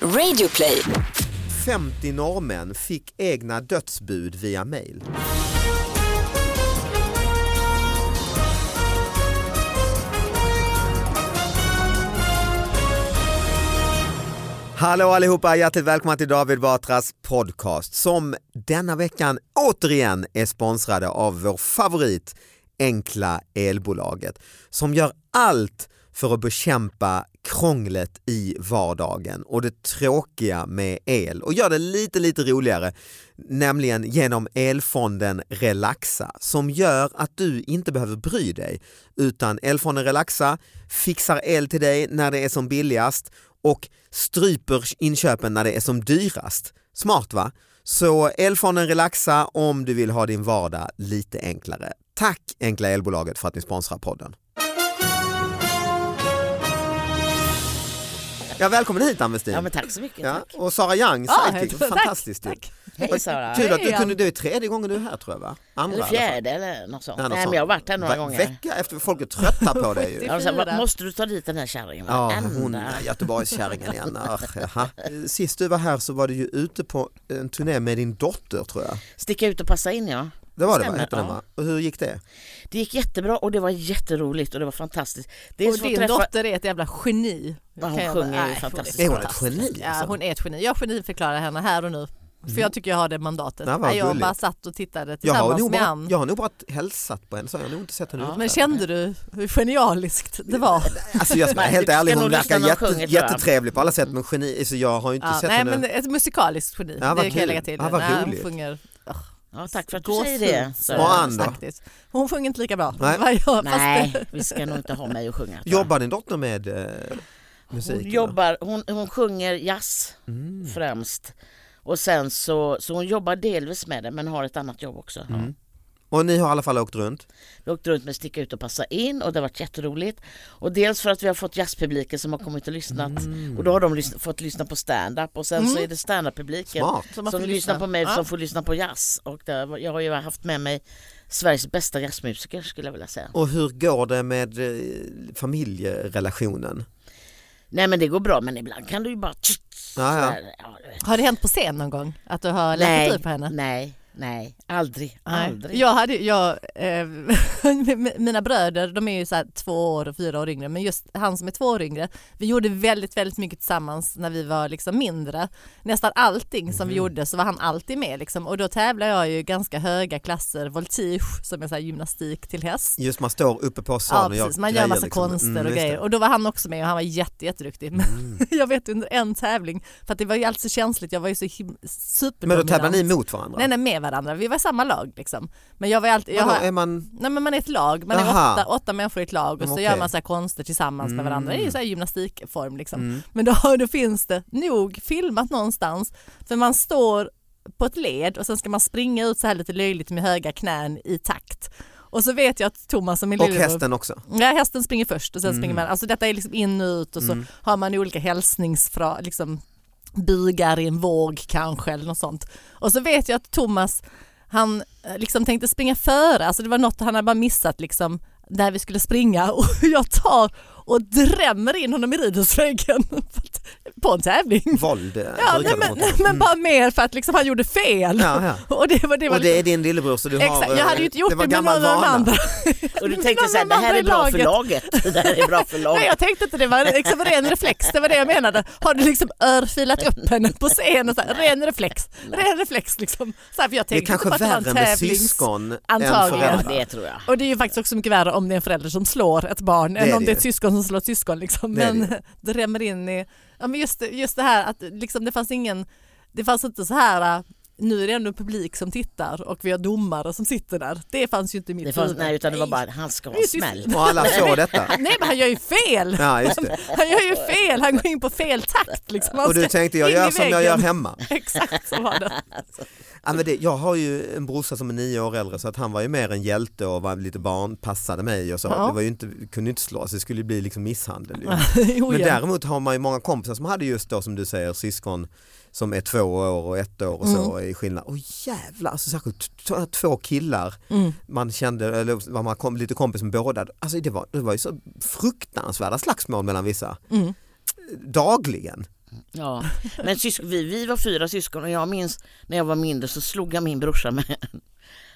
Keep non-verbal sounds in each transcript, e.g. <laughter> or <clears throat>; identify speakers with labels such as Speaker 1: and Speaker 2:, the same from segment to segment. Speaker 1: Radioplay.
Speaker 2: 50 norrmän fick egna dödsbud via mail. Hallå allihopa, hjärtligt välkomna till David Batras podcast som denna veckan återigen är sponsrade av vår favorit Enkla elbolaget som gör allt för att bekämpa krånglet i vardagen och det tråkiga med el och gör det lite, lite roligare, nämligen genom elfonden Relaxa som gör att du inte behöver bry dig utan elfonden Relaxa fixar el till dig när det är som billigast och stryper inköpen när det är som dyrast. Smart va? Så Elfonden Relaxa om du vill ha din vardag lite enklare. Tack Enkla Elbolaget för att ni sponsrar podden. Ja, välkommen hit Ann-Westin.
Speaker 3: Ja men tack så mycket.
Speaker 2: Ja,
Speaker 3: tack.
Speaker 2: och Sara Young,
Speaker 4: Ja,
Speaker 2: sidekick.
Speaker 4: tack,
Speaker 2: Fantastiskt. ju.
Speaker 4: tack.
Speaker 3: Hej Sara.
Speaker 2: Kul att du
Speaker 4: Hej,
Speaker 2: kunde, det är tredje gången du är här tror jag va? Andra
Speaker 3: Eller
Speaker 2: i alla fall.
Speaker 3: fjärde eller något sånt.
Speaker 2: Ja,
Speaker 3: Nej,
Speaker 2: något
Speaker 3: men
Speaker 2: sånt.
Speaker 3: jag har varit här några
Speaker 2: Va-
Speaker 3: gånger.
Speaker 2: Vecka efter, folk är trötta på dig
Speaker 3: <laughs>
Speaker 2: ju.
Speaker 3: Ja, de sa,
Speaker 4: Fyra.
Speaker 3: "Va- måste du ta dit den här kärringen?
Speaker 2: Ja,
Speaker 3: Varenda-
Speaker 2: hon Göteborgskärringen igen. Ah, jaha. Sist du var här så var du ju ute på en turné med din dotter tror jag.
Speaker 3: Sticka ut och passa in ja.
Speaker 2: Det var det va?
Speaker 3: Stämmer,
Speaker 2: Hette den, va? Och hur gick det?
Speaker 3: Det gick jättebra och det var jätteroligt och det var fantastiskt. Det
Speaker 4: Och
Speaker 3: så att
Speaker 4: din dotter är ett jävla geni.
Speaker 3: Ja, hon
Speaker 4: Kan jag-
Speaker 3: sjunger ju
Speaker 4: nej,
Speaker 3: fantastiskt.
Speaker 2: Är hon ett geni,
Speaker 4: Ja,
Speaker 2: alltså? Mm.
Speaker 4: hon är ett geni. Jag geniförklarar henne här och nu. För jag tycker jag har det mandatet.
Speaker 2: Ja, vad
Speaker 4: Nej, jag
Speaker 2: gulligt.
Speaker 4: bara satt och tittade
Speaker 2: Jag har,
Speaker 4: tillsammans
Speaker 2: nog
Speaker 4: med
Speaker 2: bara,
Speaker 4: Ann.
Speaker 2: jag har nog bara hälsat på henne så jag har nog inte sett henne
Speaker 4: Men
Speaker 2: uppträda.
Speaker 4: kände du hur genialiskt det var?
Speaker 2: Alltså jag ska vara
Speaker 3: Nej,
Speaker 2: helt
Speaker 3: du ska
Speaker 2: ärlig, hon
Speaker 3: nog
Speaker 2: verkar
Speaker 3: lyssna när hon
Speaker 2: jätte,
Speaker 3: sjunger, tror jag.
Speaker 2: jättetrevlig på alla sätt men geni, så jag har ju inte
Speaker 4: Ja,
Speaker 2: sett
Speaker 4: nej
Speaker 2: henne.
Speaker 4: men ett musikaliskt geni,
Speaker 2: Ja, vad
Speaker 4: det kan
Speaker 2: kul.
Speaker 4: jag lägga till.
Speaker 2: Ja, vad
Speaker 4: Nej, hon
Speaker 2: roligt.
Speaker 4: sjunger
Speaker 3: Ja, tack för att du
Speaker 4: gåshud.
Speaker 3: säger det. Sara.
Speaker 2: Och Ann då?
Speaker 4: faktiskt. Hon sjunger inte lika bra.
Speaker 2: Nej.
Speaker 4: Vad jag,
Speaker 3: Nej,
Speaker 4: Fast,
Speaker 3: vi ska nog inte ha mig att sjunga. tror jag.
Speaker 2: Jobbar din dotter med eh, musik?
Speaker 3: Hon
Speaker 2: eller?
Speaker 3: jobbar, hon, hon sjunger jazz
Speaker 2: Mm.
Speaker 3: främst. Och sen så, så hon jobbar delvis med det men har ett annat jobb också.
Speaker 2: Mm.
Speaker 3: Ja.
Speaker 2: Och ni har i alla fall åkt runt?
Speaker 3: Vi åkte runt med Sticka ut och passa in och det har varit jätteroligt. Och dels för att vi har fått jazzpubliken som har kommit och lyssnat
Speaker 4: Mm.
Speaker 3: och då har de lys- fått lyssna på stand-up och sen så är det stand-up-publiken
Speaker 2: Smart.
Speaker 4: Som
Speaker 3: som,
Speaker 4: har fått
Speaker 3: lyssnar
Speaker 4: lyssna.
Speaker 3: på mig
Speaker 4: Ja.
Speaker 3: som får lyssna på jazz. Och där, jag har ju haft med mig Sveriges bästa jazzmusiker skulle jag vilja säga.
Speaker 2: Och hur går det med eh, familjerelationen?
Speaker 3: Nej men det går bra men ibland kan du ju bara...
Speaker 2: Ja, ja.
Speaker 3: sådär. Ja, du vet.
Speaker 4: har det hänt på scen någon gång? Att du har lagt
Speaker 3: Nej,
Speaker 4: ut på henne?
Speaker 3: nej, nej, aldrig, aldrig.
Speaker 4: Ah, Jag hade, jag, eh, <laughs> mina bröder, de är ju så här två år och fyra år yngre, men just han som är två år yngre, vi gjorde väldigt, väldigt mycket tillsammans när vi var liksom mindre. Nästan allting som
Speaker 2: Mhm.
Speaker 4: vi gjorde så var han alltid med liksom. och då tävlar jag ju ganska höga klasser, voltige som är så här gymnastik till häst.
Speaker 2: Just man står uppe på scen
Speaker 4: Ja
Speaker 2: och gör
Speaker 4: precis, man gör
Speaker 2: grejer,
Speaker 4: massa
Speaker 2: liksom.
Speaker 4: konster
Speaker 2: Mm,
Speaker 4: och
Speaker 2: just det. Mm.
Speaker 4: grejer och då var han också med och han var jätte, jätteduktig. Men <laughs> jag vet under en tävling, för att det var ju alltid så känsligt, jag var ju så him-
Speaker 2: Men då
Speaker 4: superdominant.
Speaker 2: tävlar ni mot varandra?
Speaker 4: Nej, nej, med varandra. Vi var i samma lag liksom. Men jag var ju alltid, jag
Speaker 2: Vadå,
Speaker 4: har,
Speaker 2: är man...
Speaker 4: nej men man är ett lag, man är
Speaker 2: Aha.
Speaker 4: åtta, åtta människor i ett lag och
Speaker 2: Mm,
Speaker 4: så
Speaker 2: okej. Mm.
Speaker 4: gör man så här konster tillsammans med varandra. Det är ju så här gymnastikform liksom. Men då, då finns det nog filmat någonstans, för man står på ett led och sen ska man springa ut så här lite löjligt med höga knän i takt. Och så vet jag att Thomas som är
Speaker 2: Och
Speaker 4: lillebror
Speaker 2: hästen också?
Speaker 4: Ja, hästen springer först och sen springer
Speaker 2: Mm.
Speaker 4: man. Alltså detta är liksom in och ut och så har man olika hälsningsfra, liksom bugar i en våg kanske eller något sånt. Och så vet jag att Thomas, han eh, liksom tänkte springa före, alltså det var något han hade bara missat liksom där vi skulle springa <laughs> och jag tar och drämmer in honom i ridhusväggen på en tävling.
Speaker 2: Våld eh,
Speaker 4: <laughs> Ja, nej,
Speaker 2: brukar de
Speaker 4: men,
Speaker 2: mot
Speaker 4: nej, men bara mer för att liksom han gjorde
Speaker 2: Mm.
Speaker 4: fel.
Speaker 2: Ja, ja.
Speaker 4: <laughs> Och det var, det var
Speaker 2: Och det är din lillebror så du har... eh,
Speaker 4: Exakt, jag hade ju inte gjort det,
Speaker 2: var
Speaker 4: med någon
Speaker 2: gammal
Speaker 4: av de
Speaker 2: vana.
Speaker 4: andra.
Speaker 3: Och du tänkte
Speaker 4: Men
Speaker 3: så här, det
Speaker 4: mamma
Speaker 3: här är
Speaker 4: i
Speaker 3: bra för
Speaker 4: laget.
Speaker 3: laget. <laughs> Det här är bra för laget.
Speaker 4: Nej jag tänkte inte det var liksom ren reflex, det var det jag menade. Har du liksom örfilat upp henne på scenen? Så här, ren reflex, ren reflex liksom. Så här, för jag
Speaker 2: Det är
Speaker 4: tänkte
Speaker 2: kanske
Speaker 4: på att det var en
Speaker 2: värre med
Speaker 4: tävlings-
Speaker 2: syskon än
Speaker 4: Antagligen.
Speaker 3: Ja,
Speaker 2: föräldrar.
Speaker 3: det tror jag.
Speaker 4: Och det är ju faktiskt också mycket värre om det är en förälder som slår ett barn
Speaker 2: är
Speaker 4: än om
Speaker 2: det
Speaker 4: det är
Speaker 2: ju.
Speaker 4: ett syskon som slår ett syskon. Liksom.
Speaker 2: Det är
Speaker 4: Men det rämmer in i, ja, men just, det- just det här att liksom, det fanns ingen, det fanns inte så här äh, nu är det ändå publik som tittar och vi har domare som sitter där. Det fanns ju inte i mitt
Speaker 3: Det fanns,
Speaker 4: huvud.
Speaker 3: nej, utan det var bara, han ska ha
Speaker 4: Just-
Speaker 3: smäll.
Speaker 2: Och alla såg
Speaker 4: <laughs>
Speaker 2: detta.
Speaker 4: Nej men han gör ju fel!
Speaker 2: Ja, just det.
Speaker 4: <laughs> Han gör ju fel, han går in på fel takt. Liksom. Han
Speaker 2: Och du
Speaker 4: ska
Speaker 2: tänkte jag
Speaker 4: in i
Speaker 2: gör som jag
Speaker 4: väggen.
Speaker 2: gör hemma.
Speaker 4: <laughs> Exakt så
Speaker 2: <laughs>
Speaker 4: var det.
Speaker 2: Ja, men det, jag har ju en brorsa som är nio år äldre så att han var ju mer en hjälte och var lite barn, passade mig och så.
Speaker 4: Ja.
Speaker 2: Det var ju inte, kunde ju inte slås, det skulle ju bli liksom misshandel.
Speaker 4: <laughs>
Speaker 2: Ju.
Speaker 4: Jo,
Speaker 2: Men
Speaker 4: Oh, ja.
Speaker 2: däremot har man ju många kompisar som hade just då som du säger syskon som är två år och ett år och så
Speaker 4: Mm.
Speaker 2: i skillnad. Åh jävlar, alltså, särskilt t- t- två killar.
Speaker 4: Mm.
Speaker 2: Man kände, eller var man kom, lite kompis med båda.
Speaker 4: Mm.
Speaker 2: Alltså det var, det var ju så fruktansvärda slagsmål mellan vissa. Dagligen.
Speaker 3: Ja. Men syskon, vi, vi var fyra syskon och jag minns när jag var mindre så slog jag min brorsa med en-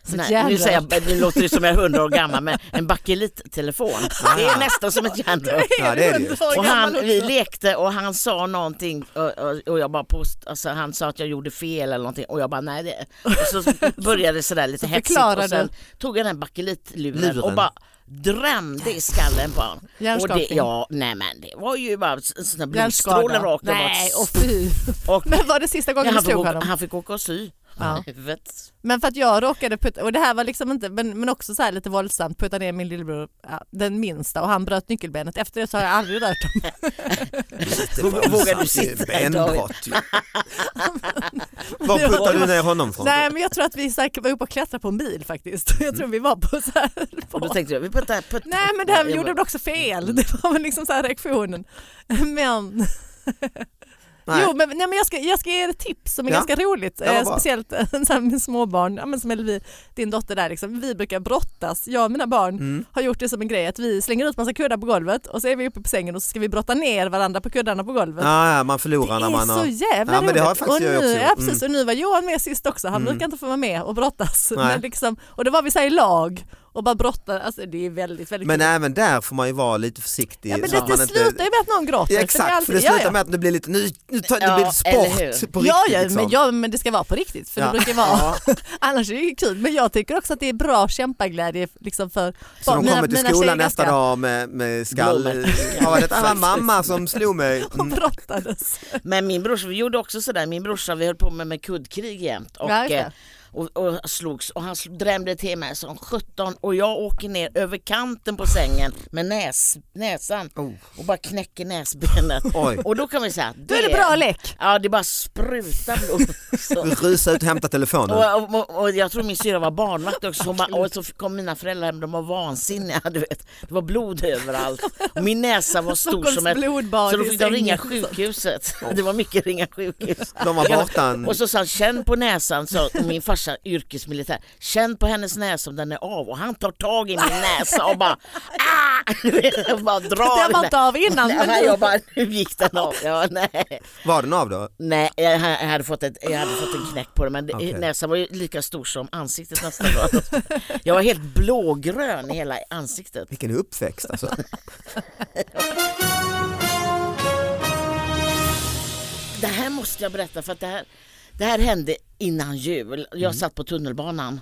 Speaker 4: Så
Speaker 3: Nej,
Speaker 4: jävla-
Speaker 3: nu säger jag, nu låter det som jag är hundra år gammal men en
Speaker 4: <laughs>
Speaker 3: bakelittelefon. Det är nästan som ett järnrör.
Speaker 2: Ja, det är det ju.
Speaker 4: Hundra år
Speaker 3: Och
Speaker 4: gammal
Speaker 3: han,
Speaker 4: också.
Speaker 3: vi lekte och han sa någonting och, och, och jag bara post, alltså han sa att jag gjorde fel eller någonting och jag bara nej det
Speaker 4: <laughs>
Speaker 3: och så började det sådär lite
Speaker 4: Så
Speaker 3: hetsigt
Speaker 4: förklarade
Speaker 3: och sen tog jag den bakelitluren
Speaker 2: Luren.
Speaker 3: och bara drämde i skallen på honom. Och det,
Speaker 4: Hjärnskakning.
Speaker 3: ja, nej men det var ju bara en sån där
Speaker 4: Hjärnskada.
Speaker 3: blodstråle rakt
Speaker 4: Nej, och
Speaker 3: och,
Speaker 4: fy.
Speaker 3: <laughs> och
Speaker 4: Men var det sista gången
Speaker 3: han,
Speaker 4: du
Speaker 3: fick
Speaker 4: slog
Speaker 3: åka,
Speaker 4: honom?
Speaker 3: han fick åka och sy.
Speaker 4: Ja.
Speaker 3: Huvudet.
Speaker 4: Men för att jag råkade putta, och det här var liksom inte, men, men också så här lite våldsamt, putta ner min lillebror, ja, den minsta, och han bröt nyckelbenet. Efter det så har jag aldrig rört honom.
Speaker 2: Lite
Speaker 3: Vågar du
Speaker 2: våldsamt,
Speaker 3: sitta
Speaker 2: det är
Speaker 3: idag?
Speaker 2: benbrott
Speaker 4: <laughs>
Speaker 2: ju. Var puttade du ner honom från?
Speaker 4: Nej men jag tror att vi säkert var uppe och klättrade på en bil faktiskt. <laughs> Jag tror vi var på så här.
Speaker 3: Och då
Speaker 4: På.
Speaker 3: tänkte jag, vi puttar, puttar.
Speaker 4: Nej men det här
Speaker 3: Jag
Speaker 4: gjorde
Speaker 3: bara-
Speaker 4: väl också fel. <laughs> Det var väl liksom så här reaktionen. Men
Speaker 2: Nej.
Speaker 4: Jo, men, nej, men jag, ska, jag ska ge er ett tips som är
Speaker 2: Ja.
Speaker 4: ganska roligt.
Speaker 2: Ja, vad
Speaker 4: eh,
Speaker 2: bra.
Speaker 4: speciellt eh, så här med småbarn, ja, men som Elvi, din dotter där. Liksom. Vi brukar brottas, jag och mina barn
Speaker 2: Mm.
Speaker 4: har gjort det som en grej att vi slänger ut massa kuddar på golvet och så är vi uppe på sängen och så ska vi brotta ner varandra på kuddarna på golvet.
Speaker 2: Ja, ja, man förlorar
Speaker 4: Det
Speaker 2: när
Speaker 4: är
Speaker 2: man
Speaker 4: så
Speaker 2: har...
Speaker 4: jävla
Speaker 2: Ja, men
Speaker 4: roligt.
Speaker 2: det har jag faktiskt
Speaker 4: och, nu,
Speaker 2: jag också gjort. Mm.
Speaker 4: ja, precis, och nu var Johan med sist också, han brukar inte få vara med och brottas. Men liksom, och då var vi så här i lag och bara brottade. Alltså, det är väldigt, väldigt
Speaker 2: Men
Speaker 4: kul.
Speaker 2: även där får man ju vara lite försiktig.
Speaker 4: Ja, men
Speaker 2: så
Speaker 4: det,
Speaker 2: att
Speaker 4: det
Speaker 2: man
Speaker 4: slutar ju
Speaker 2: inte...
Speaker 4: med att någon gråter.
Speaker 2: Ja,
Speaker 4: för det, är
Speaker 2: exakt, för
Speaker 4: alltid-
Speaker 2: det
Speaker 4: ja,
Speaker 2: slutar
Speaker 4: ja.
Speaker 2: med att det blir lite, nu, nu tar, det
Speaker 3: Ja,
Speaker 2: blir
Speaker 3: eller
Speaker 2: sport
Speaker 3: hur?
Speaker 2: på riktigt.
Speaker 4: ja, ja,
Speaker 2: liksom.
Speaker 4: men, ja, men det ska vara på riktigt för
Speaker 2: Ja.
Speaker 4: det brukar vara. <laughs> Annars är det ju kul. Men jag tycker också att det är bra kämpaglädje liksom för
Speaker 2: Så de
Speaker 4: mina-
Speaker 2: kommer till
Speaker 4: mina
Speaker 2: skolan
Speaker 4: tjejer
Speaker 2: nästa
Speaker 4: ganska-
Speaker 2: dag med, med skall...
Speaker 3: Blommor.
Speaker 2: Ja, det
Speaker 3: <laughs>
Speaker 2: var mamma som slog mig.
Speaker 4: Och
Speaker 2: Mm.
Speaker 4: <laughs> brottades.
Speaker 3: Men min brorsa, vi gjorde också sådär, min brorsa vi höll på med, med kuddkrig jämt och,
Speaker 4: Ja, just det.
Speaker 3: eh, och, och slogs och han sl- drämde till mig som 17 och jag åker ner över kanten på sängen med näs, näsan
Speaker 2: Oh.
Speaker 3: och bara knäcker näsbenet.
Speaker 2: Oj.
Speaker 3: Och då kan vi säga, det,
Speaker 4: Då är det bra lek.
Speaker 3: Ja det bara sprutar
Speaker 2: <laughs>
Speaker 3: blod. Så-
Speaker 2: Mm, Rusa ut och hämta telefonen.
Speaker 3: och, och, och jag tror min syrra var barnvakt också, hon bara, och så kom mina föräldrar hem, de var vansinniga. Du vet. Det var blod överallt. Och min näsa var stor
Speaker 4: Stockholms
Speaker 3: som ett...
Speaker 4: blodbad
Speaker 3: Så då
Speaker 4: i
Speaker 3: fick de ringa
Speaker 4: sängen.
Speaker 3: sjukhuset. <laughs> Det var mycket ringa sjukhus.
Speaker 2: De var borta en-
Speaker 3: <laughs> Och så sa han, känn på näsan, sa och min farsa yrkesmilitär, känn på hennes näsa om den är av. Och han tar tag i min näsa och bara, ah! <laughs> Du vet, jag bara drar
Speaker 4: Den var inte av innan,
Speaker 3: <laughs>
Speaker 4: men
Speaker 3: Nej,
Speaker 4: nu-
Speaker 3: jag bara, nu gick den av. Ja, nej.
Speaker 2: Var den av då?
Speaker 3: Nej, jag ha- jag hade fått, ett, jag hade fått en knäck på det men det-
Speaker 2: Okej.
Speaker 3: näsan var ju lika stor som ansiktet nästan. Var. <laughs> Jag var helt blågrön i hela ansiktet.
Speaker 2: Vilken uppväxt alltså.
Speaker 3: Det här måste jag berätta för att det här, det här hände innan jul. Jag
Speaker 2: Mm.
Speaker 3: satt på tunnelbanan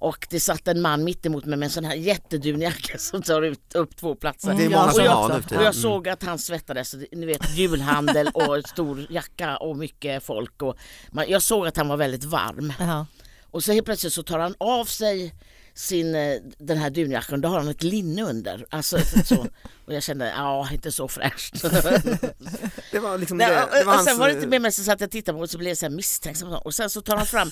Speaker 3: och det satt en man mitt emot mig med en sån här jättedun jacka <laughs> som tar ut, upp två platser.
Speaker 2: Det är
Speaker 4: Ja,
Speaker 2: många
Speaker 4: och
Speaker 2: som
Speaker 4: jag-
Speaker 2: har nu för
Speaker 3: Och
Speaker 2: tiden. Mm.
Speaker 3: jag såg att han svettades, ni vet julhandel och stor jacka och mycket folk. Och man, jag såg att han var väldigt varm.
Speaker 4: Ja.
Speaker 3: Och så helt plötsligt så tar han av sig sin, eh, den här dunjackan, då har han ett linne under. Alltså, så. Och jag kände, ja inte
Speaker 2: <laughs>
Speaker 3: så fräscht.
Speaker 2: Mm. Det var liksom det.
Speaker 3: Nej,
Speaker 2: det
Speaker 3: och,
Speaker 2: var
Speaker 3: och sen var det
Speaker 2: hans- eh,
Speaker 3: inte mer men så satt jag och tittade på det så blev jag så här misstänksam. Och sen så tar han fram,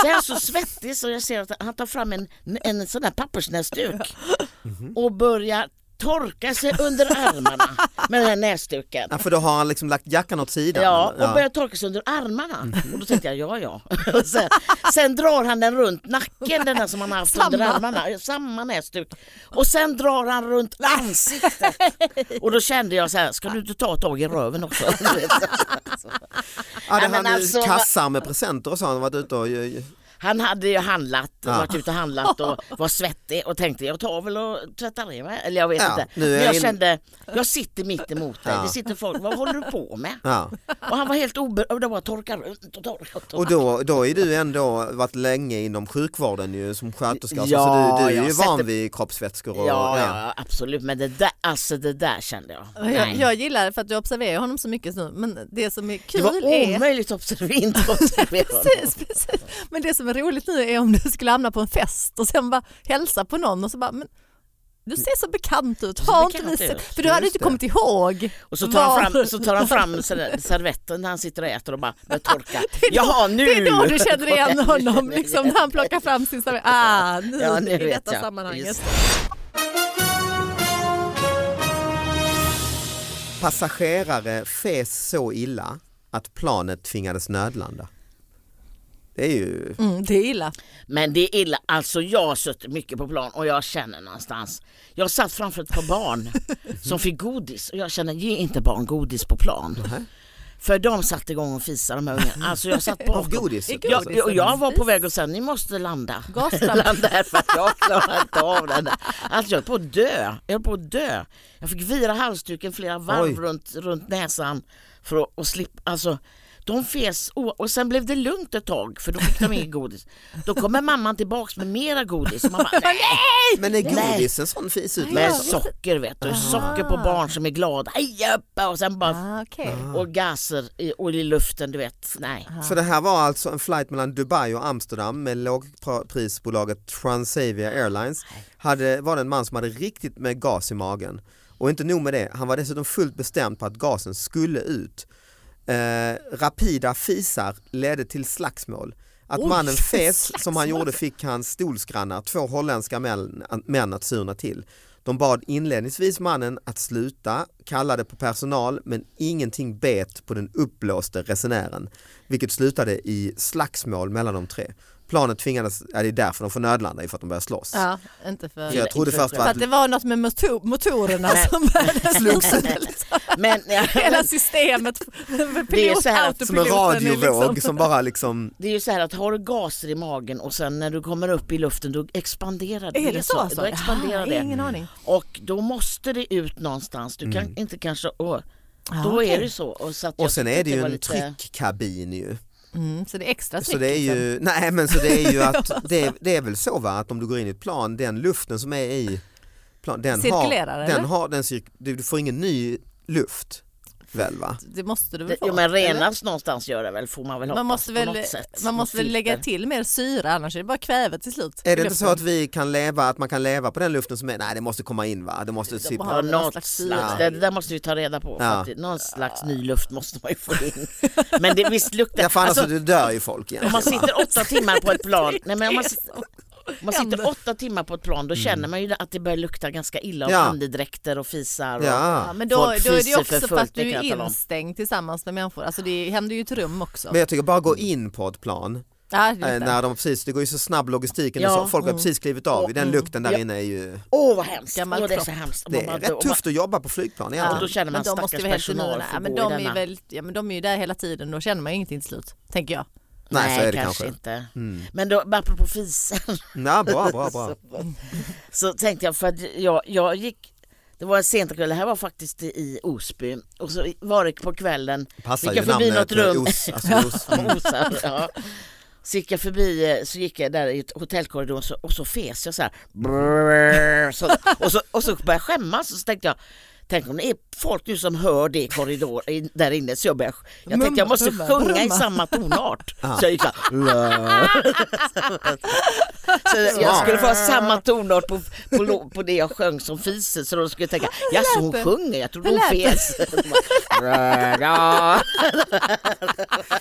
Speaker 3: så är han så svettig så jag ser att han tar fram en, en sån där pappersnäsduk
Speaker 2: Mhm.
Speaker 3: och börjar torka sig under armarna med den här näsduken.
Speaker 2: Ja, för då har han liksom lagt jackan åt sidan.
Speaker 3: Ja,
Speaker 2: eller?
Speaker 3: och börjar torka sig under armarna. Och då tänkte jag, ja ja. <laughs> Och sen, sen drar han den runt nacken, den där som han har haft under
Speaker 4: Samma.
Speaker 3: armarna. Samma näsduk. Och sen drar han runt ansiktet. Och då kände jag så här, ska du inte ta tag i röven också? <laughs> Du vet.
Speaker 2: Hade
Speaker 3: Ja, men
Speaker 2: han
Speaker 3: alltså,
Speaker 2: kassar med presenter och så? Han varit ute och...
Speaker 3: Han hade ju handlat,
Speaker 2: Ja.
Speaker 3: varit ute och handlat och var svettig och tänkte jag tar väl och tvättar ner mig. Eller jag vet
Speaker 2: Ja,
Speaker 3: inte.
Speaker 2: nu är
Speaker 3: Men
Speaker 2: jag
Speaker 3: jag
Speaker 2: in-
Speaker 3: kände, jag sitter mitt emot dig.
Speaker 2: Ja.
Speaker 3: Det sitter folk, vad håller du på med?
Speaker 2: Ja.
Speaker 3: Och han var helt oberörd, och det bara torkar runt och torkar. runt.
Speaker 2: Och då, då är du ändå varit länge inom sjukvården ju som sköterska. alltså,
Speaker 3: Ja,
Speaker 2: så du, du är ju
Speaker 3: jag
Speaker 2: van
Speaker 3: sätter-
Speaker 2: vid kroppsvätskor och...
Speaker 3: Ja, ja, absolut. Men det där, alltså det där kände jag.
Speaker 4: Jag,
Speaker 3: Nej.
Speaker 4: jag gillar det för att du observerar honom så mycket nu men det som är kul
Speaker 3: Det var
Speaker 4: är
Speaker 3: omöjligt att
Speaker 4: <laughs>
Speaker 3: observera, inte observera honom.
Speaker 4: Precis, precis. Men det som är roligt nu är om du skulle hamna på en fest och sen bara hälsa på någon och så bara, men du ser så bekant ut,
Speaker 3: ser
Speaker 4: har inte vi
Speaker 3: bekant ut.
Speaker 4: sett? För du hade
Speaker 2: Just
Speaker 4: inte
Speaker 2: det.
Speaker 4: kommit ihåg.
Speaker 3: Och så tar, han
Speaker 4: var-
Speaker 3: fram, så tar han fram sådär servetten när han sitter och äter och bara börjar torka. Jaha nu!
Speaker 4: <laughs> Det är då du
Speaker 3: <laughs>
Speaker 4: känner igen
Speaker 3: Nu känner
Speaker 4: honom,
Speaker 3: jag
Speaker 4: liksom,
Speaker 3: igen.
Speaker 4: när han plockar fram sin stav. Ah, nu,
Speaker 3: Ja, nu
Speaker 4: i
Speaker 3: vet
Speaker 4: detta
Speaker 3: jag.
Speaker 4: sammanhanget.
Speaker 3: Just
Speaker 2: Passagerare fes så illa att planet tvingades nödlanda. Det är ju...
Speaker 4: Mm, det är illa.
Speaker 3: Men det är illa, alltså jag har suttit mycket på plan och jag känner någonstans. Jag satt
Speaker 4: <laughs>
Speaker 3: framför ett par barn som fick godis och jag känner ge inte barn godis på plan. För de satte igång och fisade de här ungarna. Alltså jag satt
Speaker 2: Av
Speaker 3: bakom.
Speaker 2: godis.
Speaker 4: Vilken
Speaker 3: Jag,
Speaker 4: godis.
Speaker 3: jag, jag var på väg och sa ni måste landa. <laughs>
Speaker 4: Gaslamp.
Speaker 3: Landa här för att jag klarar inte av den. där. Alltså jag höll på att dö. Jag höll på att dö. Jag fick vira halsduken flera
Speaker 2: Oj.
Speaker 3: varv runt, runt näsan för att, att slippa. Alltså, de fes o- och sen blev det lugnt ett tag för då fick de inget godis. Då kommer mamman tillbaks med mera godis. Och
Speaker 4: <laughs>
Speaker 3: mamma, nej,
Speaker 2: Men är
Speaker 3: Nej.
Speaker 2: godis en sån fis ut?
Speaker 3: med socker vet du. Socker på barn som är glada. Aj, uppe! Och sen bara
Speaker 4: Ah, okej.
Speaker 3: och gaser i, och i luften, du vet. Nej.
Speaker 2: Så det här var alltså en flight mellan Dubai och Amsterdam med lågprisbolaget Transavia Airlines. Hade, var det en man som hade riktigt med gas i magen. Och inte nog med det, han var dessutom fullt bestämd på att gasen skulle ut. Eh, rapida fisar ledde till slagsmål. Att
Speaker 4: Oj,
Speaker 2: mannen fes som han
Speaker 4: slagsmål.
Speaker 2: gjorde fick hans stolsgrannar, två holländska män, män att surna till. De bad inledningsvis mannen att sluta, kallade på personal men ingenting bet på den uppblåste resenären. Vilket slutade i slagsmål mellan de tre. Planet tvingades, ja, det är därför de får nödlanda, i för att de börjar slåss.
Speaker 4: Ja, inte för...
Speaker 2: Så jag trodde först
Speaker 4: För
Speaker 2: var
Speaker 4: att det
Speaker 2: att
Speaker 4: var något med motor, motorerna
Speaker 3: Nej.
Speaker 4: som började
Speaker 2: Slogs ut.
Speaker 4: liksom.
Speaker 3: Men, ja,
Speaker 4: <laughs> Hela
Speaker 3: men
Speaker 4: systemet, pilot,
Speaker 3: Det är så här att-
Speaker 2: som en
Speaker 4: autopiloten är
Speaker 2: radiovåg
Speaker 4: liksom-
Speaker 2: som bara liksom
Speaker 3: det är ju så här att har du gaser i magen och sen när du kommer upp i luften då expanderar det.
Speaker 4: Är det så?
Speaker 3: Då expanderar
Speaker 4: Ah,
Speaker 3: det.
Speaker 4: Ingen aning.
Speaker 3: Och då måste det ut någonstans. Du kan inte kanske... Åh, Mm. då
Speaker 4: Ah, okej.
Speaker 3: är det så. Och, så att jag
Speaker 2: Mm. och sen
Speaker 3: tyckte
Speaker 2: är det ju
Speaker 3: var
Speaker 2: en
Speaker 3: lite-
Speaker 2: tryckkabin ju.
Speaker 4: Mm, så det är extra tryck.
Speaker 2: Så det är
Speaker 4: liksom.
Speaker 2: ju, <laughs> nej men så det är ju att, det är, det är väl så va, att om du går in i ett plan, den luften som är i plan, den
Speaker 4: Cirkulerar,
Speaker 2: har,
Speaker 4: eller?
Speaker 2: den har, den cirk, du du får ingen ny luft väl va?
Speaker 4: Det måste du väl
Speaker 3: Det-
Speaker 4: få?
Speaker 3: Jo men
Speaker 4: eller?
Speaker 3: renas någonstans gör det väl, får man väl hoppas
Speaker 4: Man måste
Speaker 3: på
Speaker 4: väl,
Speaker 3: något sätt.
Speaker 4: man måste väl
Speaker 3: Något
Speaker 4: lägga
Speaker 3: filter.
Speaker 4: till mer syra annars är det bara kväve till slut.
Speaker 2: Är det inte så att vi kan leva, att man kan leva på den luften som är, nej det måste komma in va, det måste sippra.
Speaker 4: har
Speaker 3: Ja,
Speaker 4: någon
Speaker 3: något
Speaker 4: slags
Speaker 3: slags,
Speaker 4: syra.
Speaker 3: det, det där måste vi ta reda på.
Speaker 2: Ja.
Speaker 3: faktiskt. Någon slags ny luft måste man ju få in. Men det, visst luktar...
Speaker 2: Ja, för annars
Speaker 3: alltså,
Speaker 2: så dör ju folk
Speaker 3: Om man
Speaker 2: egentligen. va?
Speaker 3: sitter åtta timmar på ett
Speaker 4: <laughs>
Speaker 3: plan, nej, men om man, sit- om man
Speaker 4: händer?
Speaker 3: sitter åtta timmar på ett plan då känner man ju att det börjar lukta ganska illa av
Speaker 2: Mm. Ja.
Speaker 3: andedräkter och fisar. Och,
Speaker 4: Ja,
Speaker 2: Ja.
Speaker 4: men då,
Speaker 3: Folk
Speaker 4: då är det ju
Speaker 3: fiser
Speaker 4: också
Speaker 3: för
Speaker 4: för att
Speaker 3: fullt, det
Speaker 4: du är
Speaker 3: kan jag tala om.
Speaker 4: instängd tillsammans med människor. Alltså det händer ju i ett rum också.
Speaker 2: Men jag tycker bara gå in på ett plan,
Speaker 4: ja, det
Speaker 2: eh,
Speaker 4: är
Speaker 2: när de precis, det går ju så snabb logistiken,
Speaker 3: Ja.
Speaker 2: så folk har precis klivit av, i den lukten där
Speaker 3: Ja.
Speaker 2: inne är ju,
Speaker 3: Åh vad hemskt,
Speaker 4: Gammal
Speaker 3: Åh, det är
Speaker 4: kropp.
Speaker 3: så hemskt.
Speaker 2: det
Speaker 3: Och
Speaker 2: är
Speaker 3: man-
Speaker 2: rätt
Speaker 3: och man-
Speaker 2: tufft att jobba på flygplan
Speaker 4: Ja.
Speaker 3: Och då
Speaker 2: egentligen.
Speaker 3: känner man
Speaker 4: men de måste
Speaker 3: stackars
Speaker 4: vi helt
Speaker 3: personal
Speaker 4: undan.
Speaker 3: får
Speaker 4: Ja, men
Speaker 3: gå
Speaker 4: de
Speaker 3: i
Speaker 4: är
Speaker 3: denna.
Speaker 4: väl, ja, men de är ju där hela tiden, då känner man ju ingenting till slut, tänker jag. <laughs>
Speaker 2: Nej, så är det kanske. Mm.
Speaker 3: inte. Men då, apropå fisen
Speaker 2: Ja, bra, bra, bra.
Speaker 3: <laughs> så tänkte jag, för att jag, jag gick, det var en sent kväll, det här var faktiskt i Osby och så var det på kvällen
Speaker 2: Passar
Speaker 3: Gick
Speaker 2: ju
Speaker 3: jag förbi
Speaker 2: namnet
Speaker 3: något rum?
Speaker 2: Os, alltså os. Mm.
Speaker 4: <laughs>
Speaker 3: osar, ja. Så gick jag förbi, eh, så gick jag där i ett hotellkorridor och så, och så fes jag så här. Brrrr, Så, och, så, och så började jag skämmas och så tänkte jag Tänk om det är folk nu som hör det i korridor i- där inne så jag började, Jag tänkte jag måste
Speaker 4: Mumma, mumma,
Speaker 3: sjunga i
Speaker 4: brumma.
Speaker 3: samma tonart.
Speaker 4: <laughs>
Speaker 3: Så jag gick så här. <laughs> Så jag skulle få ha samma tonart på, på, lo- på det jag sjöng som fiser så de skulle tänka jaså hon
Speaker 4: det?
Speaker 3: sjunger, jag trodde
Speaker 4: Hur
Speaker 3: hon
Speaker 4: lät det?
Speaker 3: fes.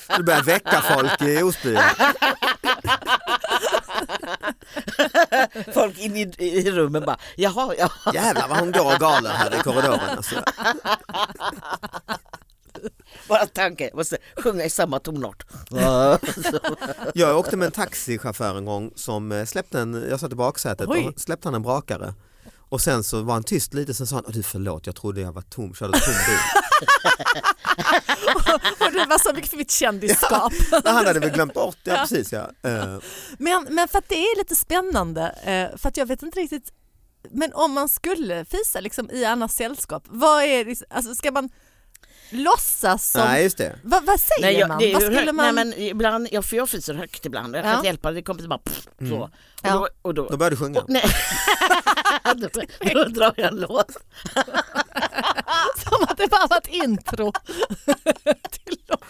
Speaker 3: <laughs>
Speaker 2: Du börjar väcka folk i Osby.
Speaker 3: Folk in i, i rummen bara jaha, ja. <laughs>
Speaker 2: Jävlar vad hon går galen här i korridoren. Alltså.
Speaker 3: Bara tanken, jag måste sjunga i samma tonart. <laughs>
Speaker 2: Jag åkte med en taxichaufför en gång som eh, släppte en, jag satt i baksätet
Speaker 4: Oj.
Speaker 2: och släppte han en brakare. Och sen så var han tyst lite, sen sa han, "Åh, du förlåt jag trodde jag var tom, körde tom
Speaker 3: <laughs>
Speaker 2: bil.
Speaker 4: Och det var så mycket för mitt kändisskap.
Speaker 2: Men han hade väl glömt bort, ja precis ja. Eh,
Speaker 4: Men, men för att det är lite spännande, eh, för att jag vet inte riktigt, men om man skulle fisa liksom i annars sällskap, vad är det, alltså ska man låtsas som,
Speaker 2: Nej just det.
Speaker 4: vad, vad säger
Speaker 3: Nej, jag,
Speaker 4: man?
Speaker 3: det är
Speaker 4: Vad
Speaker 3: ju
Speaker 4: skulle
Speaker 3: högt.
Speaker 4: man?
Speaker 3: Nej, men ibland, jag, för jag fiser högt ibland och jag kan
Speaker 4: Ja.
Speaker 3: inte hjälpa det, det kommer bara pff,
Speaker 2: Mm.
Speaker 3: så. Och
Speaker 4: Ja.
Speaker 3: då, och då,
Speaker 2: Då började du sjunga.
Speaker 3: nej. <laughs> då, då drar jag en låt.
Speaker 4: <laughs> Som att det bara var ett intro. till låt.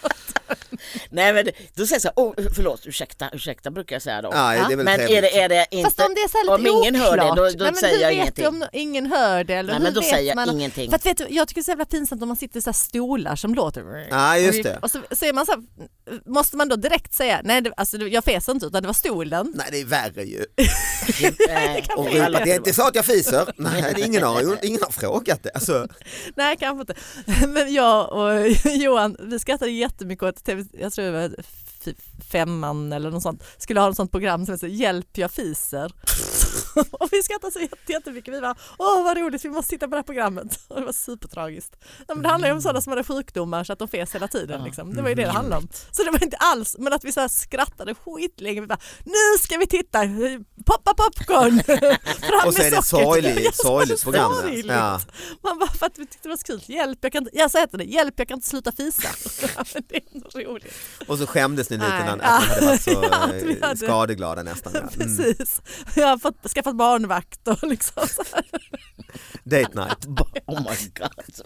Speaker 3: Nej men det- då säger jag så här, oh, förlåt, ursäkta, ursäkta brukar jag säga då.
Speaker 2: Ja, det är väl
Speaker 3: men är det,
Speaker 2: trevligt.
Speaker 3: är det
Speaker 4: Fast
Speaker 3: inte,
Speaker 4: om det är så här lite
Speaker 3: om ingen hör
Speaker 4: oklart.
Speaker 3: det då, då
Speaker 4: Nej, men
Speaker 3: säger
Speaker 4: hur
Speaker 3: jag
Speaker 4: vet
Speaker 3: ingenting.
Speaker 4: Du om ingen hör det? Eller
Speaker 3: Nej,
Speaker 4: hur
Speaker 3: men då
Speaker 4: vet
Speaker 3: säger jag
Speaker 4: man?
Speaker 3: ingenting. <laughs>
Speaker 4: För att, vet du, jag tycker det är så jävla pinsamt om man sitter i så här stolar som låter.
Speaker 2: Ja, just det.
Speaker 4: Och så säger man så här, måste man då direkt säga nej det, alltså, det- jag fes inte utan det var stolen.
Speaker 2: Nej det är värre ju.
Speaker 3: <laughs> Nej,
Speaker 2: Och, det
Speaker 3: alla
Speaker 2: är
Speaker 3: tror-
Speaker 2: inte så att jag fiser, nej det är ingen, har, ingen har frågat det. Alltså,
Speaker 4: <laughs> Nej <laughs> kanske inte. Men jag och Johan vi skrattade jättemycket åt TV, jag tror det var typ femman eller något sånt, skulle ha något sånt program som heter Hjälp jag fiser. <laughs> och vi skrattade så jätte- jättemycket. Vi bara, åh vad roligt, vi måste titta på det här programmet. <laughs> Och det var supertragiskt. Nej, men det handlar ju om sådana som hade sjukdomar så att de fes hela tiden.
Speaker 3: Ja.
Speaker 4: Liksom. Det var ju
Speaker 2: Mm-hmm.
Speaker 4: det det handlade om. Så det var inte alls, men att vi så här skrattade skitlänge. Vi bara, nu ska vi titta, poppa popcorn! <laughs> Fram
Speaker 2: Och så
Speaker 4: med
Speaker 2: är det ett
Speaker 4: sockret. <laughs>
Speaker 2: sorgligt, sorgligt program. ja.
Speaker 4: sorgligt.
Speaker 2: Ja.
Speaker 4: Man bara, för att vi tyckte det var så kul. Hjälp, jag kan inte, ja, så heter det, hjälp, jag kan inte sluta fisa.
Speaker 2: <laughs>
Speaker 4: Men det är ändå roligt.
Speaker 2: Och så skämdes ni lite
Speaker 4: Nej.
Speaker 2: när att ni hade varit så
Speaker 4: <laughs> Ja, att vi
Speaker 2: eh,
Speaker 4: hade-
Speaker 2: skadeglada nästan. Ja. Mm.
Speaker 4: Precis. Jag har fått, skaffat barnvakt och liksom så här.
Speaker 2: Date night.
Speaker 3: Oh my god.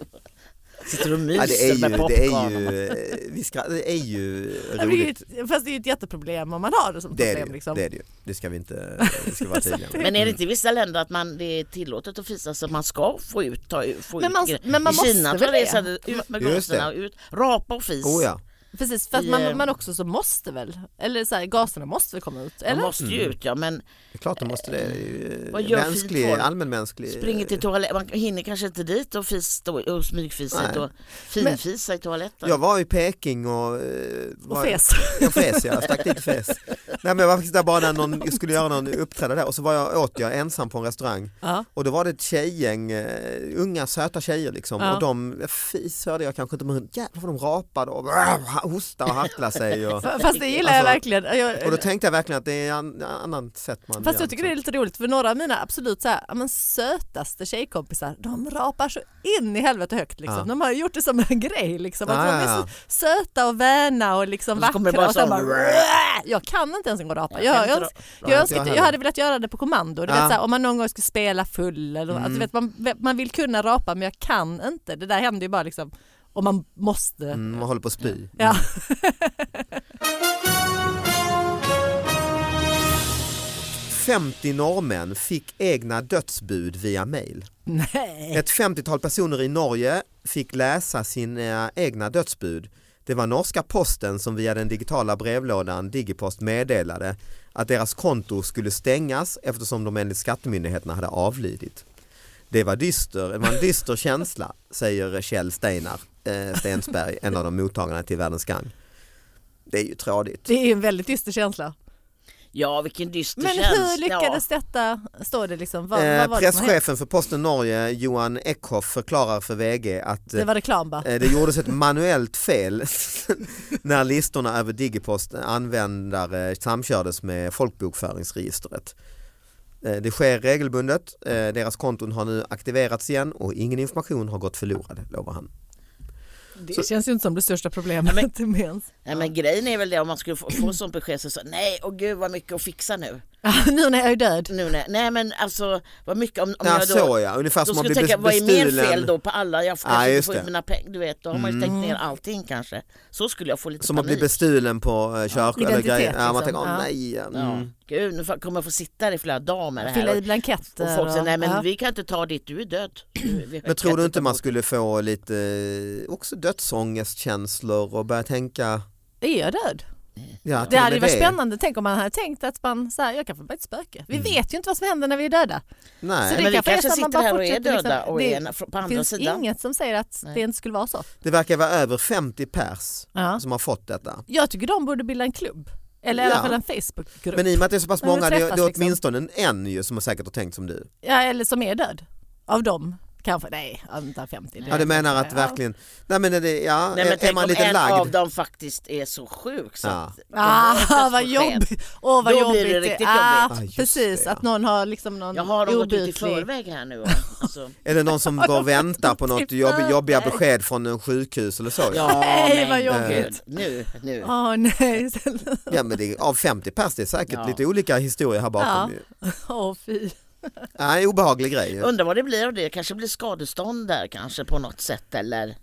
Speaker 3: Sitter du och myser
Speaker 2: Ja, det, är ju,
Speaker 3: med popcorn?
Speaker 2: det, är ju, eh, vi skra- det är ju
Speaker 4: Nej, men det är
Speaker 2: roligt.
Speaker 4: ju, ett- Fast det är ju ett jätteproblem om man har det som
Speaker 2: Det är det,
Speaker 4: problem.
Speaker 2: ju,
Speaker 4: liksom.
Speaker 2: det är det ju. Det ska vi inte det
Speaker 4: <laughs>
Speaker 2: ska vi vara tydliga med.
Speaker 3: Men är det inte i vissa länder att man, det är tillåtet att fisa så man ska få ut, ta, ut- få
Speaker 4: Men
Speaker 3: ut
Speaker 4: man-
Speaker 3: grejer?
Speaker 4: men man
Speaker 3: I
Speaker 4: måste
Speaker 3: Kina
Speaker 4: väl
Speaker 3: tror jag det är
Speaker 4: det?
Speaker 3: så här, ut med
Speaker 2: Just det.
Speaker 3: gaserna, och ut, rapa och fis.
Speaker 2: Oh, ja.
Speaker 4: Precis, för att
Speaker 3: I, eh,
Speaker 4: man, man också så måste väl, eller så här, gaserna måste väl komma ut?
Speaker 3: Man
Speaker 4: Eller?
Speaker 3: måste ju ut ja, men
Speaker 2: Det är klart de måste det. det. är ju, eh,
Speaker 3: Vad gör
Speaker 2: mänsklig,
Speaker 3: fint folk?
Speaker 2: allmänmänsklig.
Speaker 3: springer till toaletten, man hinner kanske inte dit och, fis, och, och smygfisa i
Speaker 2: Nej.
Speaker 3: toa- finfisa i toaletten.
Speaker 2: Jag var i Peking och... eh,
Speaker 4: Och
Speaker 2: var-
Speaker 4: fes.
Speaker 2: Jag fes, ja. jag stack dit och fes. Nej, men jag var faktiskt där bara när någon skulle göra någon uppträda där och så var jag, åt jag ensam på en restaurang
Speaker 4: Ja.
Speaker 2: och då var det ett tjejgäng, eh, unga söta tjejer liksom
Speaker 4: Ja.
Speaker 2: och de, fis hörde jag kanske inte men jävlar vad de rapade <laughs> och hostade och hacklade sig.
Speaker 4: <laughs>
Speaker 2: Och,
Speaker 4: F- Fast det gillar jag
Speaker 2: Alltså,
Speaker 4: verkligen. Jag,
Speaker 2: och då tänkte jag verkligen att det är an, annan sätt man
Speaker 4: Fast
Speaker 2: gör liksom.
Speaker 4: jag tycker det är lite roligt för några av mina absolut så här, ja, men sötaste tjejkompisar de rapar så in i helvete högt. Liksom.
Speaker 2: Ja.
Speaker 4: De har ju gjort det som en <laughs> grej. Liksom. Alltså,
Speaker 2: Ja,
Speaker 4: de
Speaker 2: ja,
Speaker 4: är
Speaker 2: ja.
Speaker 4: så söta och väna och liksom
Speaker 3: Och så kommer det
Speaker 4: vackra.
Speaker 3: bara
Speaker 4: Och
Speaker 3: så-
Speaker 4: sen bara, jag kan inte ens en gång rapa.
Speaker 3: Jag kan
Speaker 4: Jag, jag,
Speaker 3: inte
Speaker 4: jag,
Speaker 3: rapa.
Speaker 4: jag,
Speaker 2: Nej, inte
Speaker 4: önskar
Speaker 2: jag
Speaker 4: inte- jag
Speaker 2: heller.
Speaker 4: hade velat göra det på kommando. Du
Speaker 2: Ja.
Speaker 4: vet, så här, om man någon gång skulle spela full. Eller, alltså, du
Speaker 3: Mm.
Speaker 4: vet, man, man vill kunna rapa men jag kan inte. Det där händer ju bara liksom, om man måste.
Speaker 2: Mm, man håller på att spy.
Speaker 4: <laughs> Ja.
Speaker 2: Mm. 50 norrmän fick egna dödsbud via mail.
Speaker 4: <laughs> Nej.
Speaker 2: Ett 50-tal personer i Norge fick läsa sina egna dödsbud. Det var norska posten som via den digitala brevlådan Digipost meddelade att deras konto skulle stängas eftersom de enligt skattemyndigheterna hade avlidit. Det var, dyster, det var en
Speaker 4: <laughs>
Speaker 2: dyster känsla, säger Kjell Steinar, eh, Stensberg, en av de mottagarna till Världens gang. Det är ju tråkigt.
Speaker 4: Det är ju en väldigt dyster känsla.
Speaker 3: Ja vilken dyster
Speaker 4: Men
Speaker 3: känsla.
Speaker 4: hur lyckades detta? Står det liksom? Vad,
Speaker 2: Eh,
Speaker 4: vad var det som hände?
Speaker 2: Presschefen för Posten Norge, Johan Eckhoff, förklarar för VG att
Speaker 4: Det var reklam bara.
Speaker 2: Eh, Det gjordes ett manuellt fel <laughs> när listorna över Digipost användare samkördes med folkbokföringsregistret. Eh, Det sker regelbundet, Eh, deras konton har nu aktiverats igen och ingen information har gått förlorad, lovar han.
Speaker 4: Det känns ju inte som det största problemet. <laughs> Men,
Speaker 3: Nej, men grejen är väl det om man skulle få, få sånt besked så sa nej och gud vad mycket att fixa nu.
Speaker 4: nu när jag är död.
Speaker 3: nu när, nej men alltså vad mycket om, om
Speaker 2: Ja,
Speaker 3: jag då
Speaker 2: så ja, ungefär
Speaker 3: Då
Speaker 2: som att bli
Speaker 3: skulle jag tänka,
Speaker 2: Alltså, bes-
Speaker 3: vad är mer fel
Speaker 2: bestulen.
Speaker 3: då på alla? Jag får
Speaker 2: Ja,
Speaker 3: kanske inte
Speaker 2: just
Speaker 3: få ut
Speaker 2: det. Mm.
Speaker 3: mina pengar. Du vet, då har man ju tänkt ner allting kanske. Så skulle jag få lite
Speaker 2: Som att bli
Speaker 3: panik.
Speaker 2: bestulen på eh, körkort eller
Speaker 4: Identitet,
Speaker 2: grejer. Ja, man
Speaker 4: liksom.
Speaker 2: tänker, åh
Speaker 4: Ja.
Speaker 2: nej. ja,
Speaker 3: Ja.
Speaker 2: mm.
Speaker 3: Gud, nu fa- kommer jag få sitta här i flera dagar med det
Speaker 4: Fylla
Speaker 3: här.
Speaker 4: i
Speaker 3: Och,
Speaker 4: blanketter.
Speaker 3: och folk säger,
Speaker 4: och-
Speaker 3: nej men
Speaker 4: ja.
Speaker 3: vi kan inte ta ditt, du är död. Du- vi-
Speaker 2: Men
Speaker 3: kan
Speaker 2: tror du inte
Speaker 3: ta
Speaker 2: man
Speaker 3: emot.
Speaker 2: skulle få lite eh, också dödsångestkänslor och börja tänka
Speaker 4: Är jag död?
Speaker 2: Ja,
Speaker 4: Det
Speaker 2: till och
Speaker 4: hade ju
Speaker 2: med
Speaker 4: varit spännande. Tänk om man hade tänkt att man så här, jag kan få bara ett spöke. Vi vet ju inte vad som händer när vi är döda.
Speaker 2: Nej.
Speaker 4: Så
Speaker 3: Nej, men vi
Speaker 4: kanske är
Speaker 3: kanske
Speaker 4: så att man
Speaker 3: sitter
Speaker 4: bara
Speaker 3: här och är
Speaker 4: fortsätter liksom-
Speaker 3: döda och
Speaker 4: det
Speaker 3: är en- på
Speaker 4: Det
Speaker 3: andra
Speaker 4: finns
Speaker 3: sidan.
Speaker 4: inget som säger att
Speaker 3: Nej.
Speaker 4: det inte skulle vara så.
Speaker 2: Det verkar vara över 50 pers
Speaker 4: Ja.
Speaker 2: som har fått detta.
Speaker 4: Jag tycker de borde bilda en klubb. Eller i
Speaker 2: Ja.
Speaker 4: alla fall en Facebookgrupp.
Speaker 2: Men i och med att det är så pass
Speaker 4: Men de
Speaker 2: många, det är,
Speaker 4: träffas
Speaker 2: det är
Speaker 4: liksom.
Speaker 2: åtminstone en ju som säkert har tänkt som du.
Speaker 4: Ja, eller som är död. Av dem kanske. Nej, inte 50.
Speaker 2: Ja,
Speaker 4: det
Speaker 2: du
Speaker 4: vet jag
Speaker 2: menar
Speaker 4: inte.
Speaker 2: att verkligen, nej men är, det, ja,
Speaker 3: Nej, men
Speaker 2: är
Speaker 3: tänk
Speaker 2: man
Speaker 3: om
Speaker 2: lite
Speaker 3: en av
Speaker 2: lagd?
Speaker 3: dem faktiskt är så sjuk så
Speaker 2: Ja.
Speaker 3: att de har ett
Speaker 4: Ah, vad
Speaker 3: dödsbesked.
Speaker 4: jobbigt. Åh, vad
Speaker 3: Då
Speaker 4: jobbigt.
Speaker 3: blir det riktigt
Speaker 4: ah,
Speaker 2: jobbigt. Ah, just
Speaker 4: precis,
Speaker 2: det, ja.
Speaker 4: att någon har liksom någon
Speaker 3: Jag har de gått ut i
Speaker 4: obotlig-
Speaker 3: förväg här nu. och- Alltså,
Speaker 2: Är det någon som går och väntar på något jobb, jobbiga
Speaker 4: Nej.
Speaker 2: besked från en sjukhus eller så? Ja,
Speaker 3: ja,
Speaker 4: <laughs> Nej, vad
Speaker 3: gud.
Speaker 4: jobbigt.
Speaker 3: Nu, nu.
Speaker 4: Åh nej,
Speaker 2: ja men det är, av 50 pers, det är säkert
Speaker 3: Ja.
Speaker 2: lite olika historier här bakom.
Speaker 4: Ja.
Speaker 2: ju.
Speaker 4: åh fy.
Speaker 2: Ja, en obehaglig grej. ju.
Speaker 3: Undrar vad det blir av det, kanske blir skadestånd där kanske på något sätt eller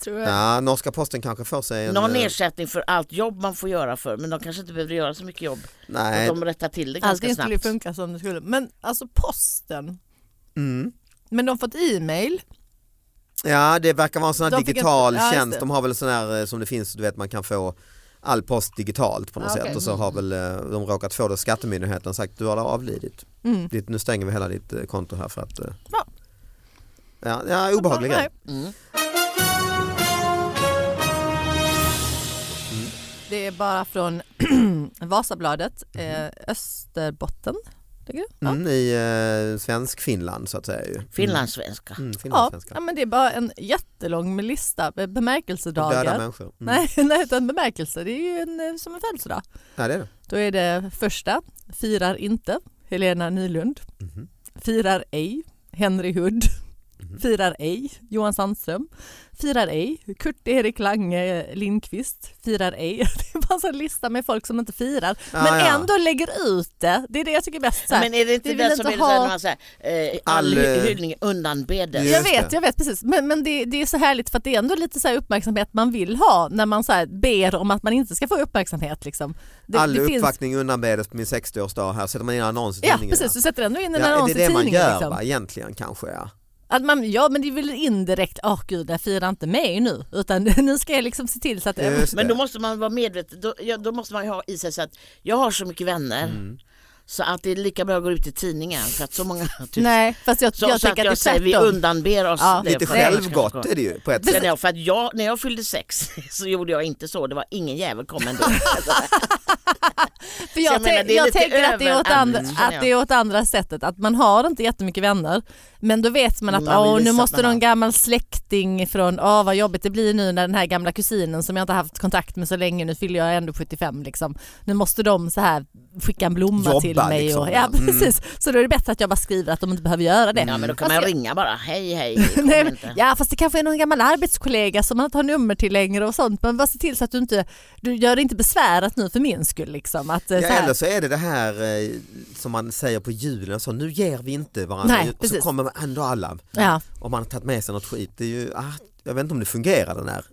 Speaker 4: Tror jag.
Speaker 2: Ja, norska posten kanske får sig en...
Speaker 3: någon
Speaker 2: eh,
Speaker 3: ersättning för allt jobb man får göra för men de kanske inte behöver göra så mycket jobb.
Speaker 2: Nej,
Speaker 3: Så de rättar till det ganska
Speaker 4: Allting skulle ju
Speaker 3: snabbt.
Speaker 4: funka som det skulle. Men alltså posten,
Speaker 2: mm.
Speaker 4: men de har fått e-mail.
Speaker 2: Ja, det verkar vara en sån här
Speaker 4: De fick ett-
Speaker 2: digital
Speaker 4: ja, just
Speaker 2: tjänst.
Speaker 4: det.
Speaker 2: De har väl sån här eh, som det finns, du vet man kan få all post digitalt på något
Speaker 4: Ja,
Speaker 2: sätt
Speaker 4: okej.
Speaker 2: och så har väl eh, de råkat få det skattemyndigheten sagt du har avlidit.
Speaker 4: Mm.
Speaker 2: Ditt, nu stänger vi hela ditt eh, konto här för att eh,
Speaker 4: Ja.
Speaker 2: Ja, ja obehaglig
Speaker 3: Mm.
Speaker 2: grej.
Speaker 4: Nej.
Speaker 3: Mm.
Speaker 4: Det är bara från <clears throat> Vasabladet, eh, Österbotten. tycker du? Ja.
Speaker 2: Mm, I eh, svensk Finland så att säga. ju.
Speaker 3: Finlandssvenska.
Speaker 2: Mm,
Speaker 4: Ja,
Speaker 2: finlandssvenska.
Speaker 4: ja, men det är bara en jättelång med lista med
Speaker 2: Och Döda
Speaker 4: bemärkelsedagar.
Speaker 2: människor. Mm.
Speaker 4: Nej, <laughs> nej, utan bemärkelse. Det är ju en, eh, som en födelsedag.
Speaker 2: Ja, det är det.
Speaker 4: Då är det första, firar inte, Helena Nylund.
Speaker 2: Mhm.
Speaker 4: Firar ej, Henry Hood. Firar ej, Johan Sandström. Firar ej, Kurt-Erik Lange Lindqvist. Firar ej. <laughs> Det är bara en sån lista med folk som inte firar.
Speaker 2: Ja,
Speaker 4: men
Speaker 2: Ah, ja.
Speaker 4: ändå lägger ut det. Det är det jag tycker är bäst. Så här.
Speaker 3: Men är det
Speaker 4: vi
Speaker 3: inte
Speaker 4: vill
Speaker 3: det som
Speaker 4: inte
Speaker 3: är det där
Speaker 4: ha-
Speaker 3: när man säger eh,
Speaker 2: All,
Speaker 3: all
Speaker 2: eh,
Speaker 3: hy- hyllning undanbedes?
Speaker 2: Just
Speaker 4: jag vet,
Speaker 2: det.
Speaker 4: jag vet precis. Men, men det, det är så härligt för att det är ändå lite så här uppmärksamhet man vill ha när man så här ber om att man inte ska få uppmärksamhet. Liksom. Det,
Speaker 2: All
Speaker 4: det finns-
Speaker 2: uppvaktning undanbedes på min 60-årsdag här sätter man in annons i
Speaker 4: Ja
Speaker 2: tidningen.
Speaker 4: precis, du sätter ändå in en
Speaker 2: Ja,
Speaker 4: annons
Speaker 2: det är det
Speaker 4: i
Speaker 2: man
Speaker 4: tidningen.
Speaker 2: gör
Speaker 4: liksom.
Speaker 2: va, egentligen kanske. Ja.
Speaker 4: Att man, ja men det är väl indirekt, åh gud jag firar inte mig nu utan <laughs> nu ska jag liksom se till så att
Speaker 2: Just
Speaker 3: Men
Speaker 2: det.
Speaker 3: då måste man vara medveten, då, ja, då måste man ju ha i sig så att jag har så mycket vänner
Speaker 2: Mm.
Speaker 3: så att det är lika bra att gå ut i tidningen för att så många... <laughs> Typ,
Speaker 4: Nej fast jag,
Speaker 3: så
Speaker 4: jag
Speaker 3: så
Speaker 4: tänker
Speaker 3: att jag
Speaker 4: att det är
Speaker 3: säger vi
Speaker 4: tvärtom.
Speaker 3: undanber oss
Speaker 4: Ja.
Speaker 3: det
Speaker 2: Lite
Speaker 3: för att annars kan
Speaker 2: självgott
Speaker 3: jag-
Speaker 2: är det ju på ett
Speaker 3: Sen
Speaker 2: sätt.
Speaker 3: är för att jag, när jag fyllde sex <laughs> så gjorde jag inte så, det var ingen jävel
Speaker 2: <laughs>
Speaker 3: kom ändå.
Speaker 4: För jag,
Speaker 3: jag menar,
Speaker 4: tän-
Speaker 3: det är
Speaker 4: jag
Speaker 3: lite
Speaker 4: tänker att det, är åt
Speaker 3: överanvänt,
Speaker 4: andra,
Speaker 3: känner
Speaker 4: att det är åt andra sättet, att man har inte jättemycket vänner men då vet man att
Speaker 3: Man vill
Speaker 4: åh, nu
Speaker 3: visa att
Speaker 4: måste
Speaker 3: man
Speaker 4: någon
Speaker 3: har."
Speaker 4: gammal släkting från, åh vad jobbigt det blir nu när den här gamla kusinen som jag inte haft kontakt med så länge, nu fyller jag ändå 75 liksom. Nu måste de så här skicka en blomma
Speaker 2: Jobba,
Speaker 4: till mig.
Speaker 2: liksom,
Speaker 4: och,
Speaker 2: ja.
Speaker 4: ja,
Speaker 2: Mm.
Speaker 4: precis. Så då är det bättre att jag bara skriver att de inte behöver göra det.
Speaker 3: Ja men då kan
Speaker 4: Fast
Speaker 3: man
Speaker 4: jag-
Speaker 3: ringa bara, hej hej.
Speaker 2: <laughs>
Speaker 3: kom
Speaker 4: <laughs> Nej, men,
Speaker 3: inte.
Speaker 4: ja fast det kanske är någon gammal arbetskollega som man inte har nummer till längre och sånt. Men bara se till så att du inte, du gör det inte besvärat nu för min skull. Liksom, att, eh,
Speaker 2: Ja,
Speaker 4: så här-
Speaker 2: eller så är det det här eh, som man säger på julen, så nu ger vi inte varandra
Speaker 4: Nej,
Speaker 2: och
Speaker 4: precis.
Speaker 2: så kommer man ändå alla
Speaker 4: ja.
Speaker 2: om man har tagit med sig något skit. Det är ju, ah, jag vet inte om det fungerar den här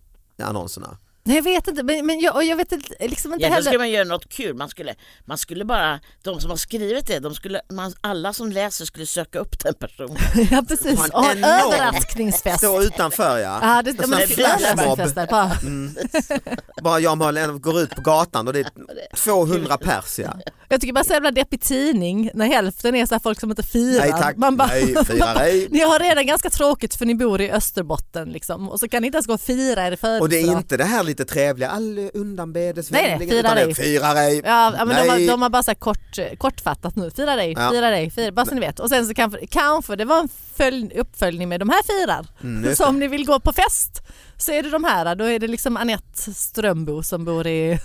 Speaker 2: annonserna.
Speaker 4: Nej jag vet inte, men, men jag, och jag vet inte- liksom inte
Speaker 3: Ja, då
Speaker 4: heller.
Speaker 3: skulle man göra något kul. Man skulle, man skulle bara, de som har skrivit det, de skulle, man, alla som läser skulle söka upp den
Speaker 2: <laughs>
Speaker 3: personen.
Speaker 4: <laughs> Ja precis,
Speaker 2: Ha en
Speaker 4: och ha en
Speaker 2: enorm-
Speaker 4: överraskningsfest.
Speaker 2: Stå utanför ja.
Speaker 4: Alltså,
Speaker 2: Alltså,
Speaker 4: Ja, det, ja, men
Speaker 3: en flashmob.
Speaker 4: överraskningsfest där, bara.
Speaker 2: Mm. Bara jag och Malin går ut på gatan och det är 200 pers ja.
Speaker 4: Jag tycker bara så jävla deppig tidning när hälften är så här folk som inte firar.
Speaker 2: Nej tack,
Speaker 4: <laughs> Man bara,
Speaker 2: nej firar ej.
Speaker 4: ni har redan ganska tråkigt för ni bor i Österbotten liksom, och så kan ni inte ens gå och fira er födelsedag.
Speaker 2: Och det är inte det här lite trevliga, all undanbedes
Speaker 4: Nej, nej,
Speaker 2: vänligen,
Speaker 4: firar
Speaker 2: utan det är
Speaker 4: ej.
Speaker 2: Firar ej.
Speaker 4: Ja, ja, men de,
Speaker 2: Nej.
Speaker 4: har, de har bara så här kort, kortfattat nu, fira dig,
Speaker 2: Ja.
Speaker 4: fira dig, fira, bara så ni vet. Och sen så kanske, kanske det var en följ, uppföljning med de här firar.
Speaker 2: Mm,
Speaker 4: så om ni vill gå på fest så är det de här, då är det liksom Anette Strömbo som bor i...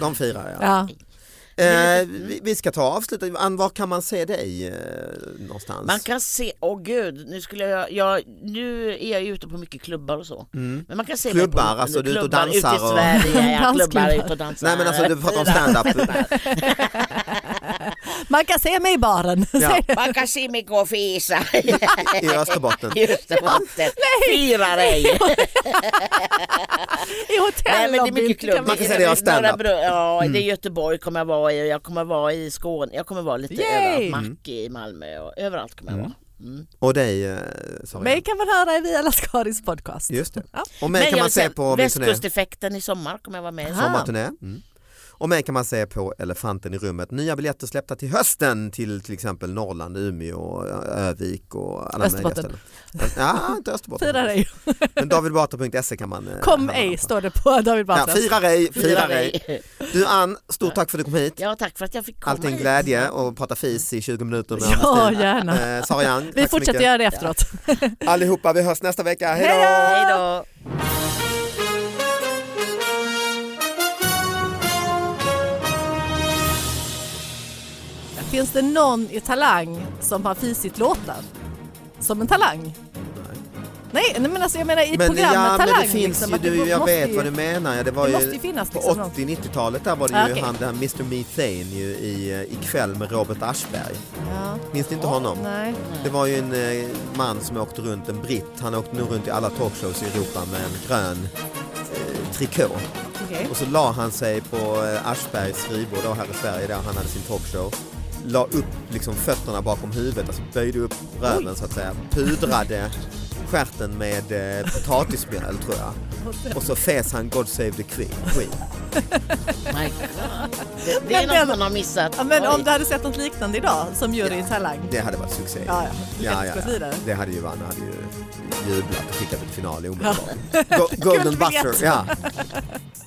Speaker 2: De firar ja.
Speaker 4: Ja.
Speaker 2: Eh, vi, vi ska ta avsluta, Ann, var kan man se dig eh, någonstans?
Speaker 3: Man kan se, åh gud, nu, skulle jag, jag, nu är jag ju ute på mycket klubbar och så. Men man kan se mig
Speaker 2: Mm. Klubbar,
Speaker 3: på,
Speaker 2: alltså, du är ute och
Speaker 3: klubbar
Speaker 2: dansar
Speaker 3: Ute i
Speaker 2: och- <laughs>
Speaker 3: Sverige, ja, klubbar,
Speaker 4: Dansklubbar.
Speaker 3: ute och dansar.
Speaker 2: Nej men alltså du pratar om
Speaker 4: <laughs>
Speaker 2: standup.
Speaker 4: Man kan se mig i baren. <laughs>
Speaker 2: Ja,
Speaker 3: Man kan se mig gå
Speaker 2: <laughs>
Speaker 3: och fisa <laughs>
Speaker 2: I
Speaker 4: <laughs>
Speaker 2: Österbotten.
Speaker 3: i Österbotten.
Speaker 2: <laughs>
Speaker 3: Fira dig!
Speaker 4: I hotell
Speaker 3: Nej men det är mycket klubb.
Speaker 2: Man kan säga det är stand-up. Mm.
Speaker 3: Norra Bro- Ja, det är Göteborg kommer jag vara i och jag kommer vara i Skåne. Jag kommer vara lite
Speaker 4: Yay!
Speaker 2: Mm.
Speaker 3: överallt. Macki i Malmö och överallt kommer jag vara. Mm.
Speaker 2: Och dig, eh, sorry.
Speaker 4: Mig kan man höra i Via Lascaris podcast.
Speaker 2: Just det.
Speaker 4: Ja.
Speaker 2: Och mig kan
Speaker 3: jag
Speaker 2: man
Speaker 3: vill
Speaker 2: se
Speaker 3: säga,
Speaker 2: på min turné,
Speaker 3: Västkusteffekten i sommar kommer jag vara med i.
Speaker 4: Aha.
Speaker 2: sommarturné. Mm. Och mig kan man se på Elefanten i rummet. Nya biljetter släppta till hösten till till exempel Norrland, Umeå, Ö- Ö-vik och alla möjliga
Speaker 4: Österbotten.
Speaker 2: ställen. Ja, inte
Speaker 4: Fira
Speaker 2: Österbotten.
Speaker 4: dig.
Speaker 2: Men davidbatra.se kan man. eh,
Speaker 4: Kom
Speaker 2: handla
Speaker 4: ej
Speaker 2: på.
Speaker 4: står det på David
Speaker 2: Ja,
Speaker 4: Batras.
Speaker 2: fira dig, fira
Speaker 3: Fira
Speaker 2: dig.
Speaker 3: dig.
Speaker 2: Du Ann, stort tack för att du kom hit.
Speaker 3: Ja, tack för att jag fick komma
Speaker 2: Allting
Speaker 3: hit.
Speaker 2: glädje och prata fis i 20 minuter med
Speaker 4: ja
Speaker 2: Ann-Kristin.
Speaker 4: gärna.
Speaker 2: Eh, Sara Young, tack
Speaker 4: Vi
Speaker 2: så
Speaker 4: fortsätter
Speaker 2: mycket.
Speaker 4: göra det efteråt.
Speaker 2: Allihopa, vi hörs nästa vecka. Hej då!
Speaker 3: Hej då!
Speaker 4: Finns det någon i Talang som har fisit låtar? Som en talang? Nej, nej men alltså jag menar i programmet
Speaker 2: ja,
Speaker 4: Talang.
Speaker 2: men det finns
Speaker 4: liksom,
Speaker 2: ju,
Speaker 4: att det
Speaker 2: du, jag
Speaker 4: måste
Speaker 2: vet
Speaker 4: ju-
Speaker 2: vad du menar. Ja, det var
Speaker 4: det
Speaker 2: ju,
Speaker 4: måste ju finnas
Speaker 2: på
Speaker 4: liksom någon-
Speaker 2: 80-90-talet där var det ju
Speaker 4: Ah, okej.
Speaker 2: han den här Mr Methane ju, i, eh, i kväll med Robert Aschberg.
Speaker 4: Ja,
Speaker 2: Minns ni inte honom?
Speaker 4: nej.
Speaker 2: Det var ju en eh, man som åkte runt, en britt, han åkte nog runt i alla talkshows i Europa med en grön eh, trikå.
Speaker 4: okej.
Speaker 2: Och så la han sig på eh, Aschbergs skrivbord då här i Sverige där han hade sin talkshow. La upp liksom fötterna bakom huvudet, alltså böjde upp röven så att säga. Pudrade stjärten med eh, potatismjöl tror jag. Och så fes han God Save the Queen. Queen.
Speaker 3: My God. Det, det
Speaker 4: Men
Speaker 3: är
Speaker 4: den-
Speaker 3: något man har missat.
Speaker 4: Ja, men om
Speaker 3: Oj.
Speaker 4: du hade sett något liknande idag som jury i Talang?
Speaker 2: Det hade varit succé.
Speaker 4: Ja, ja.
Speaker 2: ja,
Speaker 4: Lyckat gått
Speaker 2: ja.
Speaker 4: vidare.
Speaker 2: Det hade ju Vanna hade
Speaker 4: <laughs>
Speaker 2: ju jublat och skickat till final omedelbart. Go- Golden
Speaker 4: Guldbiljett.
Speaker 2: buzzer, ja.